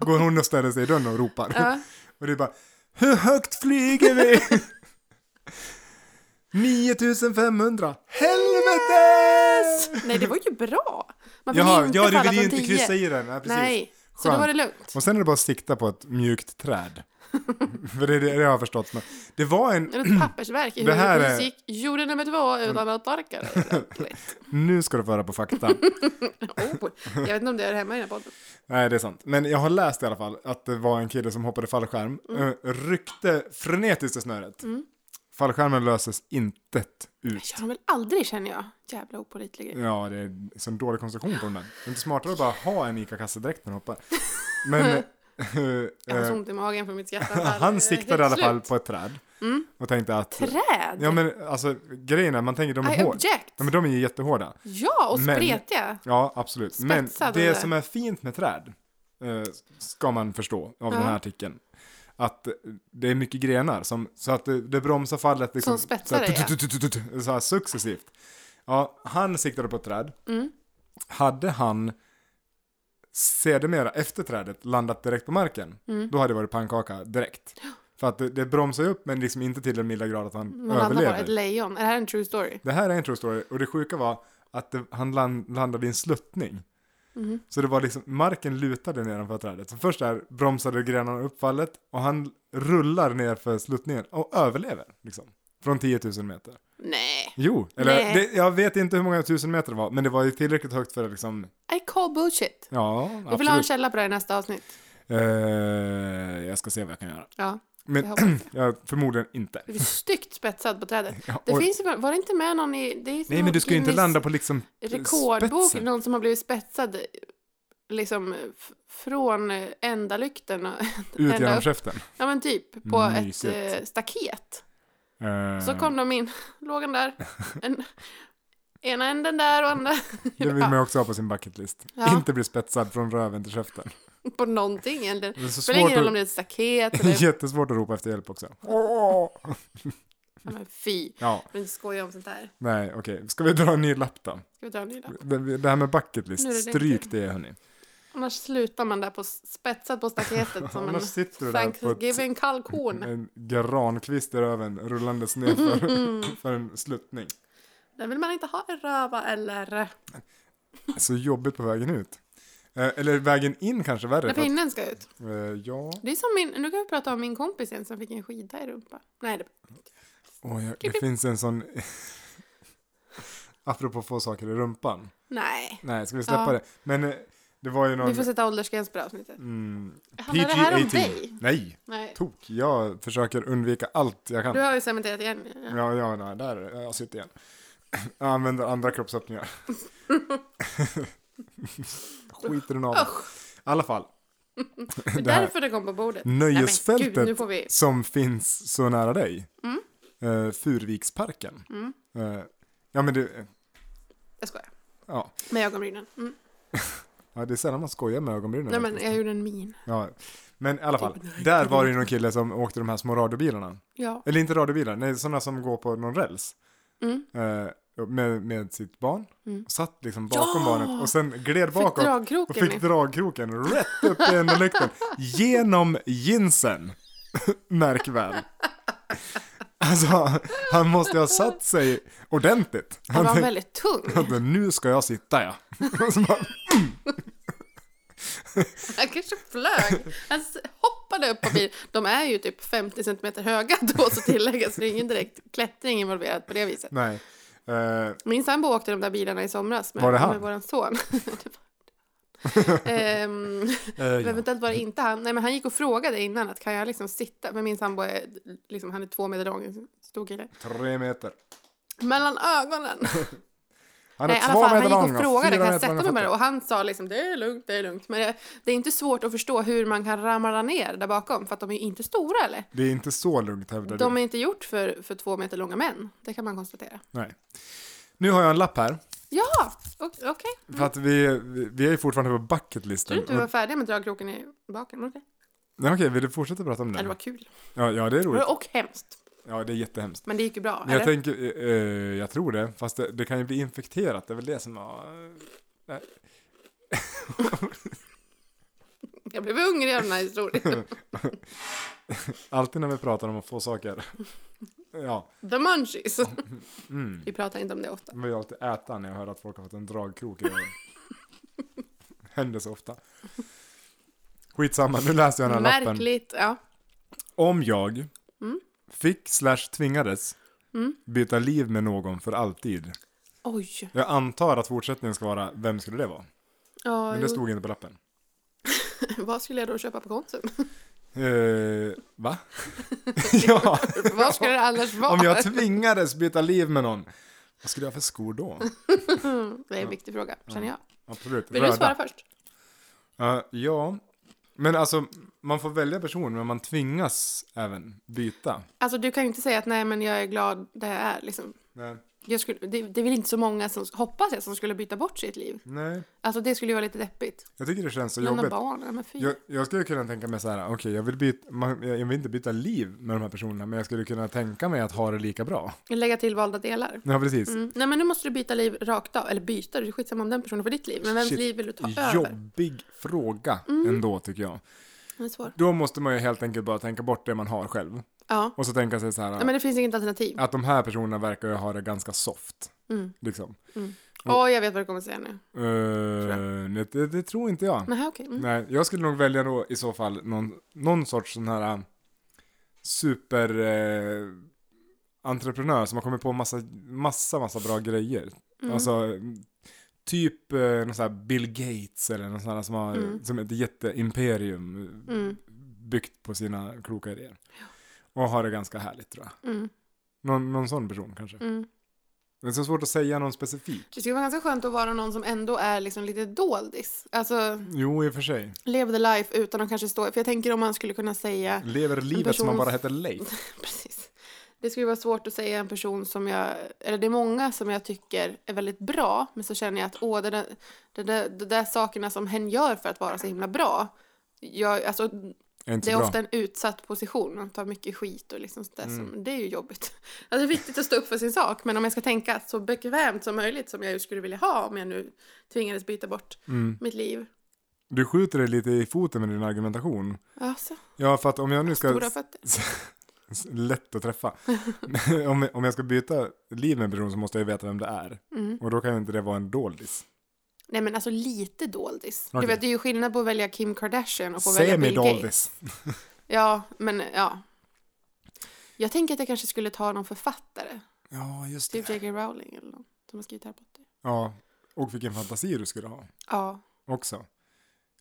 Speaker 1: Går hon och ställer sig i dörren och ropar.
Speaker 2: Ja.
Speaker 1: Och det är bara, hur högt flyger vi? 9500! Helvete!
Speaker 2: Nej, det var ju bra. Man fick
Speaker 1: Ja,
Speaker 2: inte
Speaker 1: ja, du
Speaker 2: falla
Speaker 1: vill ju
Speaker 2: från
Speaker 1: inte
Speaker 2: 10.
Speaker 1: kryssa i den. Nej, precis.
Speaker 2: Nej, så
Speaker 1: Skönt.
Speaker 2: då var det lugnt.
Speaker 1: Och sen är det bara att sikta på ett mjukt träd. För det är det jag har förstått. Men det var en,
Speaker 2: Eller ett pappersverk i
Speaker 1: Det här
Speaker 2: huvudet.
Speaker 1: är- Mm.
Speaker 2: gick jorden nummer två utan att torka det ordentligt.
Speaker 1: nu ska du föra på fakta.
Speaker 2: Oh, jag vet inte om det är hemma i den här podden.
Speaker 1: Nej, det är sant. Men jag har läst i alla fall att det var en kille som hoppade fallskärm,
Speaker 2: Mm.
Speaker 1: eh, ryckte frenetiskt i snöret. Fallskärmen löses intet
Speaker 2: Jag
Speaker 1: ut.
Speaker 2: kör dem väl aldrig känner jag. Jävla opålitlig grej.
Speaker 1: Ja, det är så en dålig konstruktion på den där. Det är inte smartare att bara ha en ICA-kasse direkt när du hoppar. Men
Speaker 2: Jag
Speaker 1: eh,
Speaker 2: har
Speaker 1: eh,
Speaker 2: så ont i magen från mitt skrattanfall.
Speaker 1: han
Speaker 2: Eh,
Speaker 1: siktade i
Speaker 2: helt
Speaker 1: alla fall
Speaker 2: slut. Mm.
Speaker 1: på ett träd. Och tänkte att...
Speaker 2: Träd?
Speaker 1: Ja, men alltså grejen är, man tänker de
Speaker 2: I
Speaker 1: är hårda.
Speaker 2: object.
Speaker 1: Ja, men de är ju jättehårda.
Speaker 2: Ja, och
Speaker 1: Men-
Speaker 2: spretiga.
Speaker 1: Ja, absolut. Men
Speaker 2: Spetsad,
Speaker 1: det
Speaker 2: eller?
Speaker 1: som är fint med träd eh, ska man förstå av den här artikeln. Att eh, det är mycket grenar som, så att det, det bromsar fallet liksom,
Speaker 2: Som spetsar
Speaker 1: så här,
Speaker 2: det, ja.
Speaker 1: tut-tut-tut-tut-tut, så här successivt. Ja, han siktade på ett träd.
Speaker 2: Mm.
Speaker 1: Hade han sedermera efter trädet landat direkt på marken,
Speaker 2: Mm.
Speaker 1: då hade det varit pannkaka direkt. För att det, det bromsar ju upp men liksom inte till den milda grad att han
Speaker 2: Man landar bara
Speaker 1: överlever.
Speaker 2: ett lejon. Är det här en true story?
Speaker 1: Det här är en true story och det sjuka var att det, han land, landade i en sluttning.
Speaker 2: Mm-hmm.
Speaker 1: Så det var liksom, marken lutade nedanför trädet. Så först där bromsade grenarna upp fallet och han rullar ner för sluttningen och överlever. Liksom, från 10 000 meter.
Speaker 2: Nej.
Speaker 1: Jo, eller
Speaker 2: Nej.
Speaker 1: det, jag vet inte hur många tusen meter det var, men det var ju tillräckligt högt för att liksom,
Speaker 2: I call bullshit.
Speaker 1: ja,
Speaker 2: Jag vill ha en
Speaker 1: absolut.
Speaker 2: källa på det här i nästa avsnitt.
Speaker 1: Eh, jag ska se vad jag kan göra.
Speaker 2: Ja,
Speaker 1: Men
Speaker 2: jag hoppas det.
Speaker 1: jag, förmodligen inte.
Speaker 2: Det är styggt spetsad på trädet.
Speaker 1: Ja,
Speaker 2: Det
Speaker 1: och-
Speaker 2: finns ju- var det inte med någon i... Det är
Speaker 1: Nej, men du ska ju inte landa på liksom
Speaker 2: Rekordbok,
Speaker 1: spetsen.
Speaker 2: någon som har blivit spetsad liksom f- från eh, enda lykten. och-
Speaker 1: Ut
Speaker 2: ända
Speaker 1: genom
Speaker 2: upp.
Speaker 1: käften.
Speaker 2: Ja men typ på ett
Speaker 1: Mysigt.
Speaker 2: eh, staket.
Speaker 1: Eh,
Speaker 2: Så kom de in, låg den där. En, ena änden där och andra
Speaker 1: Det vill
Speaker 2: Ja.
Speaker 1: man ju också ha på sin bucketlist.
Speaker 2: Ja.
Speaker 1: Inte bli spetsad från röven till käften.
Speaker 2: på någonting egentligen.
Speaker 1: Det är så
Speaker 2: Spelar ingen
Speaker 1: svårt
Speaker 2: roll om
Speaker 1: att,
Speaker 2: det är ett staket eller...
Speaker 1: jättesvårt att ropa efter hjälp också.
Speaker 2: Ja, men fy.
Speaker 1: Ja,
Speaker 2: Jag vill inte skoja om sånt där.
Speaker 1: nej, okej. Ska vi dra en ny lapp då?
Speaker 2: Ska vi dra en ny då?
Speaker 1: Det det här med
Speaker 2: Nu är det
Speaker 1: bucketlist, stryk det hörni.
Speaker 2: Annars slutar man där på spetsat på staketet som en
Speaker 1: Annars sitter du där på ett,
Speaker 2: Thanksgiving kalkon.
Speaker 1: en grankvist i röven rullandes ner för, för en sluttning.
Speaker 2: Den vill man inte ha i röva eller...
Speaker 1: Så jobbigt på vägen ut. Eh, Eller vägen in kanske
Speaker 2: När
Speaker 1: värre. För att,
Speaker 2: pinnen ska ut.
Speaker 1: eh, ja,
Speaker 2: Det är som min, nu kan vi prata om min kompis igen som fick en skida i rumpan. Nej, det,
Speaker 1: Åh, jag, det finns en sån... Apropå få saker i rumpan.
Speaker 2: nej.
Speaker 1: Nej, ska vi släppa
Speaker 2: Ja.
Speaker 1: det? Men eh, det var ju någon...
Speaker 2: Vi får sätta åldersgräns på det här avsnittet.
Speaker 1: Mm,
Speaker 2: Handlar det här om
Speaker 1: PG-18.
Speaker 2: dig?
Speaker 1: Nej,
Speaker 2: Nej.
Speaker 1: tok. Jag försöker undvika allt jag kan.
Speaker 2: Du har ju cementerat igen. Ja.
Speaker 1: Ja, ja, nej, där är det. jag sitter igen. Jag använder andra kroppsöppningar. Skiter den av. I alla fall,
Speaker 2: Det är
Speaker 1: det här-
Speaker 2: därför det kom på bordet. Nej, men
Speaker 1: nöjesfältet
Speaker 2: gud, nu får vi...
Speaker 1: som finns så nära dig.
Speaker 2: Mm.
Speaker 1: Eh, Furviksparken. Eh, ja, men det...
Speaker 2: Jag skojar.
Speaker 1: Ja.
Speaker 2: Med ögonbrynen. Mm.
Speaker 1: ja, det är sällan man skojar med ögonbrynen.
Speaker 2: Nej, men
Speaker 1: faktiskt.
Speaker 2: jag gjorde en min.
Speaker 1: ja. men i alla fall,
Speaker 2: Typ, nej,
Speaker 1: där
Speaker 2: det
Speaker 1: var det ju någon kille som åkte de här små radiobilarna.
Speaker 2: Ja.
Speaker 1: Eller inte radiobilar, nej sådana som går på någon räls.
Speaker 2: Mm.
Speaker 1: Eh, med, med sitt barn.
Speaker 2: Mm.
Speaker 1: Och satt liksom bakom
Speaker 2: Ja!
Speaker 1: barnet och sen gled
Speaker 2: Fick
Speaker 1: bakåt. och
Speaker 2: dragkroken.
Speaker 1: fick dragkroken rätt upp i ena lykten. genom jeansen. Märk väl. Alltså, han måste ha satt sig ordentligt.
Speaker 2: Han
Speaker 1: Han
Speaker 2: var
Speaker 1: tänkte
Speaker 2: väldigt tung.
Speaker 1: att nu ska jag sitta ja. Och så bara,
Speaker 2: Han kanske flög. Han s- hoppade upp på bilen. De är ju typ 50 centimeter höga då, så tilläggas. Det är ingen direkt klättring involverad på det viset.
Speaker 1: nej. Eh,
Speaker 2: Min sambo åkte de där bilarna i somras med,
Speaker 1: Var det han?
Speaker 2: med våran son. um,
Speaker 1: eh, ja.
Speaker 2: Eventuellt var det inte han. Nej, men han gick och frågade innan att kan jag liksom sitta? Men min sambo är, liksom, han är två meter lång, stor kille.
Speaker 1: Tre meter.
Speaker 2: Mellan ögonen.
Speaker 1: Han är
Speaker 2: Nej, i alla
Speaker 1: två
Speaker 2: fall, han
Speaker 1: meter
Speaker 2: gick
Speaker 1: lång
Speaker 2: och frågade
Speaker 1: fyra
Speaker 2: kan jag
Speaker 1: meter
Speaker 2: sätta
Speaker 1: långa
Speaker 2: mig med det?
Speaker 1: fötter.
Speaker 2: Och han sa liksom det är lugnt, det är lugnt. Men det, det är inte svårt att förstå hur man kan ramla ner där bakom för att de är ju inte stora eller?
Speaker 1: Det är inte så lugnt hävdar
Speaker 2: De
Speaker 1: du.
Speaker 2: är inte gjort för, för två meter långa män. Det kan man konstatera.
Speaker 1: Nej. Nu har jag en lapp här.
Speaker 2: Ja, o- okej.
Speaker 1: För att vi, vi- vi är ju fortfarande på
Speaker 2: Tror
Speaker 1: bucketlisten.
Speaker 2: du inte vi var färdiga med dragkroken i baken? Var det det?
Speaker 1: Nej, okej, vill du fortsätta prata om
Speaker 2: Ja, det
Speaker 1: det?
Speaker 2: var kul.
Speaker 1: Ja, ja, det är roligt.
Speaker 2: Och hemskt.
Speaker 1: Ja, det är jättehemskt.
Speaker 2: Men det gick ju bra.
Speaker 1: Men jag
Speaker 2: eller?
Speaker 1: tänker, eh, eh, jag tror det, fast det, det kan ju bli infekterat, det är väl det som har... Nej.
Speaker 2: jag blev hungrig av den här historien.
Speaker 1: Alltid när vi pratar om att få saker. Ja,
Speaker 2: The munchies.
Speaker 1: mm.
Speaker 2: Vi pratar inte om det ofta.
Speaker 1: Jag vill alltid äta när jag hör att folk har fått en dragkrok i ögonen. Händer så ofta. Skitsamma, nu läser jag den här lappen.
Speaker 2: Märkligt. Ja.
Speaker 1: Om jag
Speaker 2: Mm.
Speaker 1: fick slash tvingades
Speaker 2: Mm.
Speaker 1: byta liv med någon för alltid.
Speaker 2: Oj.
Speaker 1: Jag antar att fortsättningen ska vara, vem skulle det vara?
Speaker 2: Ja,
Speaker 1: Men
Speaker 2: jo.
Speaker 1: det stod inte på lappen.
Speaker 2: Vad skulle jag då köpa på Konsum?
Speaker 1: Eh, va? ja.
Speaker 2: Vad skulle det annars vara?
Speaker 1: Om jag tvingades byta liv med någon, vad skulle jag ha för skor då?
Speaker 2: Det är en viktig fråga, känner jag.
Speaker 1: Absolut,
Speaker 2: Vill du
Speaker 1: röda.
Speaker 2: svara först?
Speaker 1: Ja, ja, men alltså man får välja person, men man tvingas även byta.
Speaker 2: Alltså, du kan ju inte säga att nej, men jag är glad där jag är. Liksom.
Speaker 1: Nej,
Speaker 2: Jag skulle, det, det är väl inte så många, som, hoppas jag, som skulle byta bort sitt liv.
Speaker 1: nej.
Speaker 2: Alltså, det skulle ju vara lite deppigt.
Speaker 1: jag tycker det känns så
Speaker 2: Lämna
Speaker 1: jobbigt.
Speaker 2: barn, nej, men fy.
Speaker 1: Jag, jag skulle kunna tänka mig så här, okej, jag vill byta, man, jag vill inte byta liv med de här personerna, men jag skulle kunna tänka mig att ha det lika bra.
Speaker 2: Lägga till valda delar.
Speaker 1: Ja, precis.
Speaker 2: Mm. Nej, men nu måste du byta liv rakt av. Eller byta, det är skitsamma om den personen får ditt liv. Men vems
Speaker 1: Shit.
Speaker 2: liv vill du ta över? Mm.
Speaker 1: Jobbig fråga ändå, tycker jag.
Speaker 2: Det är svår.
Speaker 1: Då måste man ju helt enkelt bara tänka bort det man har själv.
Speaker 2: Ja.
Speaker 1: Och så tänka sig så här,
Speaker 2: Nej, men det finns inget alternativ.
Speaker 1: att de här personerna verkar ju ha det ganska soft.
Speaker 2: Mm.
Speaker 1: Liksom.
Speaker 2: Åh, jag vet vad du kommer säga nu.
Speaker 1: Eh, nej, det, det tror inte jag.
Speaker 2: Nähä, okej. Mm.
Speaker 1: Nej, jag skulle nog välja då i så fall någon, någon sorts sån här eh, super eh, entreprenör som har kommit på massa, massa, massa bra grejer. Alltså mm, typ eh, någon sån här Bill Gates eller någon sån här som har
Speaker 2: Mm.
Speaker 1: som ett jätteimperium eh,
Speaker 2: Mm.
Speaker 1: byggt på sina kloka idéer. Och har det ganska härligt tror jag.
Speaker 2: Mm.
Speaker 1: Någon, någon sån person kanske.
Speaker 2: Mm.
Speaker 1: Det är så svårt att säga någon specifik.
Speaker 2: Det skulle vara ganska skönt att vara någon som ändå är liksom lite doldis. Alltså,
Speaker 1: Jo, i och för sig.
Speaker 2: lev the life utan att kanske stå... För jag tänker om man skulle kunna säga...
Speaker 1: Lever livet som
Speaker 2: person-
Speaker 1: man bara heter Leif.
Speaker 2: Precis. Det skulle vara svårt att säga en person som jag... Eller det är många som jag tycker är väldigt bra, men så känner jag att åh, det där, det där, de där sakerna som hen gör för att vara så himla bra. Jag, alltså,
Speaker 1: Är inte
Speaker 2: det
Speaker 1: så
Speaker 2: är
Speaker 1: bra.
Speaker 2: ofta en utsatt position, man tar mycket skit och liksom sådär,
Speaker 1: Mm.
Speaker 2: som, det är ju jobbigt. Alltså, det är viktigt att stå upp för sin sak, men om jag ska tänka så bekvämt som möjligt som jag ju skulle vilja ha om jag nu tvingades byta bort
Speaker 1: Mm.
Speaker 2: mitt liv.
Speaker 1: Du skjuter dig lite i foten med din argumentation.
Speaker 2: Alltså,
Speaker 1: Ja, för att om jag nu ska...
Speaker 2: stora fötter.
Speaker 1: Lätt att träffa. Men om, om jag ska byta liv med en person så måste jag ju veta vem det är.
Speaker 2: Mm.
Speaker 1: Och då kan ju inte det vara en doldis.
Speaker 2: Nej men alltså lite doldis. Du
Speaker 1: Okej.
Speaker 2: vet, det är ju skillnad på att välja Kim Kardashian och på att välja Bill Gates.
Speaker 1: Semi-doldis.
Speaker 2: Ja, men ja. Jag tänker att jag kanske skulle ta någon författare.
Speaker 1: Ja, just
Speaker 2: Typ
Speaker 1: det.
Speaker 2: J.K. Rowling eller någon som har skrivit Harry Potter.
Speaker 1: Ja, och vilken fantasi du skulle ha
Speaker 2: Ja,
Speaker 1: också.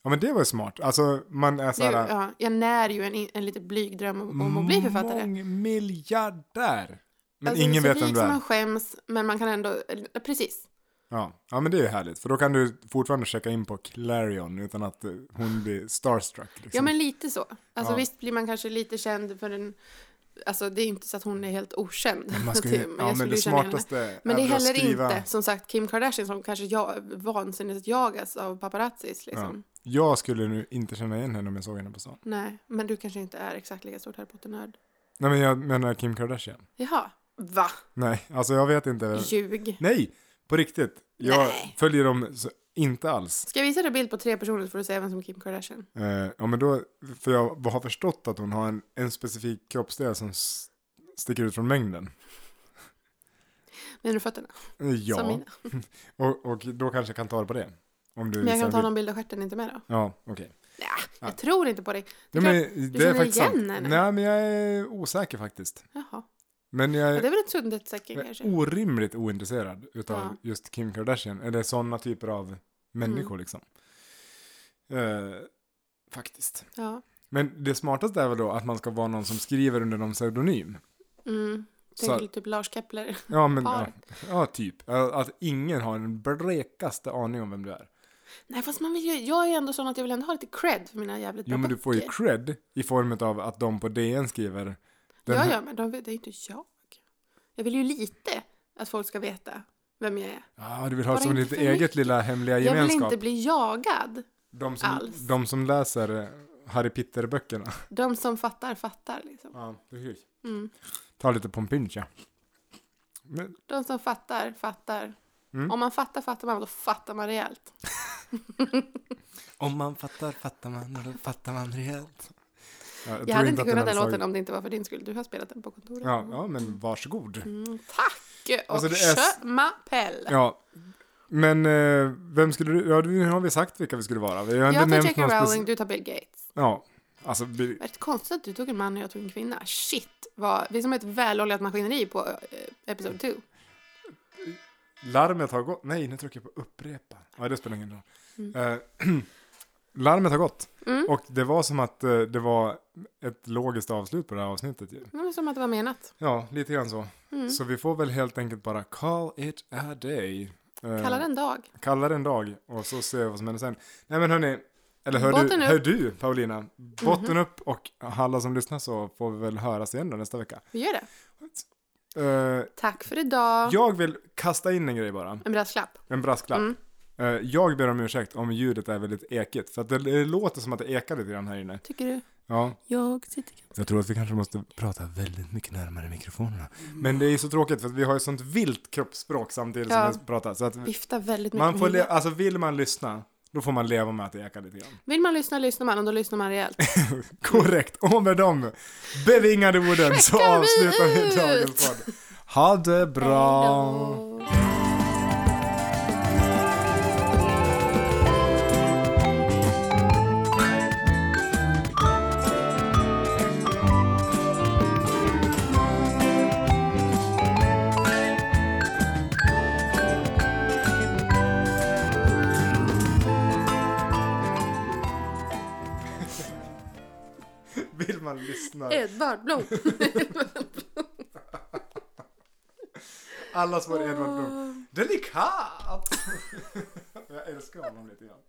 Speaker 1: Ja, men det var ju smart. Alltså, man är
Speaker 2: det, är
Speaker 1: så
Speaker 2: ju-
Speaker 1: här...
Speaker 2: ja jag när ju en, en lite blyg dröm om, om att bli författare.
Speaker 1: Mångmiljardär! Men
Speaker 2: Alltså,
Speaker 1: ingen
Speaker 2: så
Speaker 1: vet vem
Speaker 2: rik
Speaker 1: du
Speaker 2: som
Speaker 1: är.
Speaker 2: man skäms, men man kan ändå... eh, Precis.
Speaker 1: Ja. ja, men det är ju härligt. För då kan du fortfarande checka in på Clarion utan att eh, hon blir starstruck. Liksom.
Speaker 2: Ja, men lite så. Alltså
Speaker 1: Ja.
Speaker 2: visst blir man kanske lite känd för en... Alltså det är inte så att hon är helt okänd.
Speaker 1: Man ska ju,
Speaker 2: Typ,
Speaker 1: ja,
Speaker 2: jag
Speaker 1: men
Speaker 2: skulle
Speaker 1: det
Speaker 2: ju känna henne.
Speaker 1: smartaste
Speaker 2: Men det är
Speaker 1: väl att
Speaker 2: heller
Speaker 1: skriva-
Speaker 2: inte, som sagt, Kim Kardashian som kanske jag, vansinnigt jagas av paparazzis. Liksom.
Speaker 1: Jag skulle nu inte känna igen henne om jag såg henne på stan.
Speaker 2: Nej, men du kanske inte är exakt lika stort Harry Potter-nörd.
Speaker 1: Nej, men jag menar Kim Kardashian.
Speaker 2: Jaha, va?
Speaker 1: Nej, alltså jag vet inte.
Speaker 2: Ljug.
Speaker 1: Nej, på riktigt. Jag
Speaker 2: Nej.
Speaker 1: följer dem så Inte alls.
Speaker 2: Ska jag visa dig bild på tre personer så får du se vem som är Kim Kardashian?
Speaker 1: Eh, ja, men då, för jag har förstått att hon har en, en specifik kroppsdel som s- sticker ut från mängden.
Speaker 2: Menar du fötterna?
Speaker 1: Eh,
Speaker 2: Som
Speaker 1: Ja,
Speaker 2: mina.
Speaker 1: och, och då kanske jag kan ta det på det. Om du
Speaker 2: Men jag
Speaker 1: visar
Speaker 2: kan ta
Speaker 1: en bild.
Speaker 2: någon bild av stjärten, inte med då?
Speaker 1: Ja, okej.
Speaker 2: Nja,
Speaker 1: Ja.
Speaker 2: jag tror inte på dig. Det
Speaker 1: Ja,
Speaker 2: är
Speaker 1: men
Speaker 2: klart-
Speaker 1: det
Speaker 2: känner
Speaker 1: är faktiskt
Speaker 2: igen
Speaker 1: sant.
Speaker 2: henne?
Speaker 1: Nej, men jag är osäker faktiskt.
Speaker 2: Jaha.
Speaker 1: Men
Speaker 2: Ja,
Speaker 1: jag
Speaker 2: det
Speaker 1: är
Speaker 2: är väl ett sundhetstecken kanske?
Speaker 1: orimligt ointresserad utav
Speaker 2: Ja.
Speaker 1: just Kim Kardashian. Eller sådana typer av människor
Speaker 2: Mm.
Speaker 1: liksom. Eh, faktiskt.
Speaker 2: Ja.
Speaker 1: Men det smartaste är väl då att man ska vara någon som skriver under någon pseudonym.
Speaker 2: Mm.
Speaker 1: Så-
Speaker 2: Tänker typ Lars Kepler.
Speaker 1: Ja, men ja,
Speaker 2: Paret.
Speaker 1: ja, typ. Att att ingen har den blekaste aning om vem du är.
Speaker 2: Nej, fast man vill ju, jag är ju ändå sån att jag vill ändå ha lite cred för mina jävligt bra
Speaker 1: Jo, men du får ju
Speaker 2: böcker.
Speaker 1: cred i form av att de på DN skriver den
Speaker 2: Ja,
Speaker 1: här-
Speaker 2: ja, men de, vet- det är inte jag. Jag vill ju lite att folk ska veta vem jag är.
Speaker 1: Ja, du vill ha
Speaker 2: Bara
Speaker 1: som
Speaker 2: inte
Speaker 1: ditt
Speaker 2: för
Speaker 1: eget
Speaker 2: mycket.
Speaker 1: lilla hemliga
Speaker 2: Jag vill
Speaker 1: gemenskap.
Speaker 2: inte bli jagad.
Speaker 1: de, som,
Speaker 2: alls.
Speaker 1: de som läser eh, Harry Pitter-böckerna.
Speaker 2: De som fattar, fattar liksom.
Speaker 1: Ja, precis.
Speaker 2: Mm.
Speaker 1: Ta lite pompincha. Men,
Speaker 2: De som fattar, fattar.
Speaker 1: Mm.
Speaker 2: Om man fattar, fattar man. Då fattar man rejält.
Speaker 1: om man fattar, fattar man och då fattar man rejält. Ja, tror
Speaker 2: Jag hade inte
Speaker 1: att den
Speaker 2: kunnat den
Speaker 1: hade
Speaker 2: låten
Speaker 1: slagit-
Speaker 2: om det inte var för din skull. Du har spelat den på kontoret.
Speaker 1: Ja, ja, men varsågod.
Speaker 2: Mm, tack! Och
Speaker 1: Alltså,
Speaker 2: alltså,
Speaker 1: det är s-
Speaker 2: Mapell.
Speaker 1: Ja. Men eh, vem skulle du... Ja, nu har vi sagt vilka vi skulle vara. Vi har inte
Speaker 2: Jag tar
Speaker 1: nämnt
Speaker 2: J.K.
Speaker 1: någon
Speaker 2: Rowling,
Speaker 1: speciell...
Speaker 2: du tar Bill Gates.
Speaker 1: Ja. Alltså, vi-
Speaker 2: Rätt konstigt att du tog en man och jag tog en kvinna. Shit, vad, vi är som ett väloljat maskineri på eh,
Speaker 1: Mm.
Speaker 2: Episode 2.
Speaker 1: larmet har gått. Nej, nu trycker jag på upprepa. Ja, det spelar ingen roll. Eh, larmet har gått.
Speaker 2: Mm.
Speaker 1: Och det var som att eh, det var ett logiskt avslut på det här avsnittet ju.
Speaker 2: Det var som att det var menat.
Speaker 1: Ja, lite grann så.
Speaker 2: Mm.
Speaker 1: Så vi får väl helt enkelt bara call it a day. Eh,
Speaker 2: Kalla den dag.
Speaker 1: Kalla det en dag och så ser vi vad som händer sen. Nej men hörni, eller hör,
Speaker 2: Botten
Speaker 1: du,
Speaker 2: upp. Mhm.
Speaker 1: hör du Paulina, botten upp och alla som lyssnar så får vi väl höras igen då nästa vecka.
Speaker 2: Vi gör det.
Speaker 1: Eh,
Speaker 2: Tack för idag.
Speaker 1: jag vill kasta in en grej bara,
Speaker 2: En brasklapp.
Speaker 1: en brasklapp.
Speaker 2: Mm.
Speaker 1: Eh, jag ber om ursäkt om ljudet är väldigt ekigt, för att det, det låter som att det ekar lite grann här inne.
Speaker 2: Tycker du?
Speaker 1: Ja.
Speaker 2: Jag sitter...
Speaker 1: Jag tror att vi kanske måste prata väldigt mycket närmare mikrofonerna. Men det är ju så tråkigt för att vi har ju sånt vilt kroppsspråk samtidigt
Speaker 2: Ja.
Speaker 1: som vi pratar. Så att
Speaker 2: Viftar väldigt mycket.
Speaker 1: man får
Speaker 2: med
Speaker 1: le-
Speaker 2: huvudet.
Speaker 1: alltså vill man lyssna, då får man leva med att det ekar lite grann.
Speaker 2: Vill man lyssna, lyssnar man. Och då lyssnar man rejält.
Speaker 1: Korrekt, och med de bevingade orden så
Speaker 2: Checkar vi
Speaker 1: avslutar vi
Speaker 2: ut!
Speaker 1: dagens podd. Ha det bra!
Speaker 2: Hejdå.
Speaker 1: Vill man lyssna?
Speaker 2: Edvard Blom.
Speaker 1: Alla svarar Edvard Blom. Delikat! Jag älskar honom lite grann.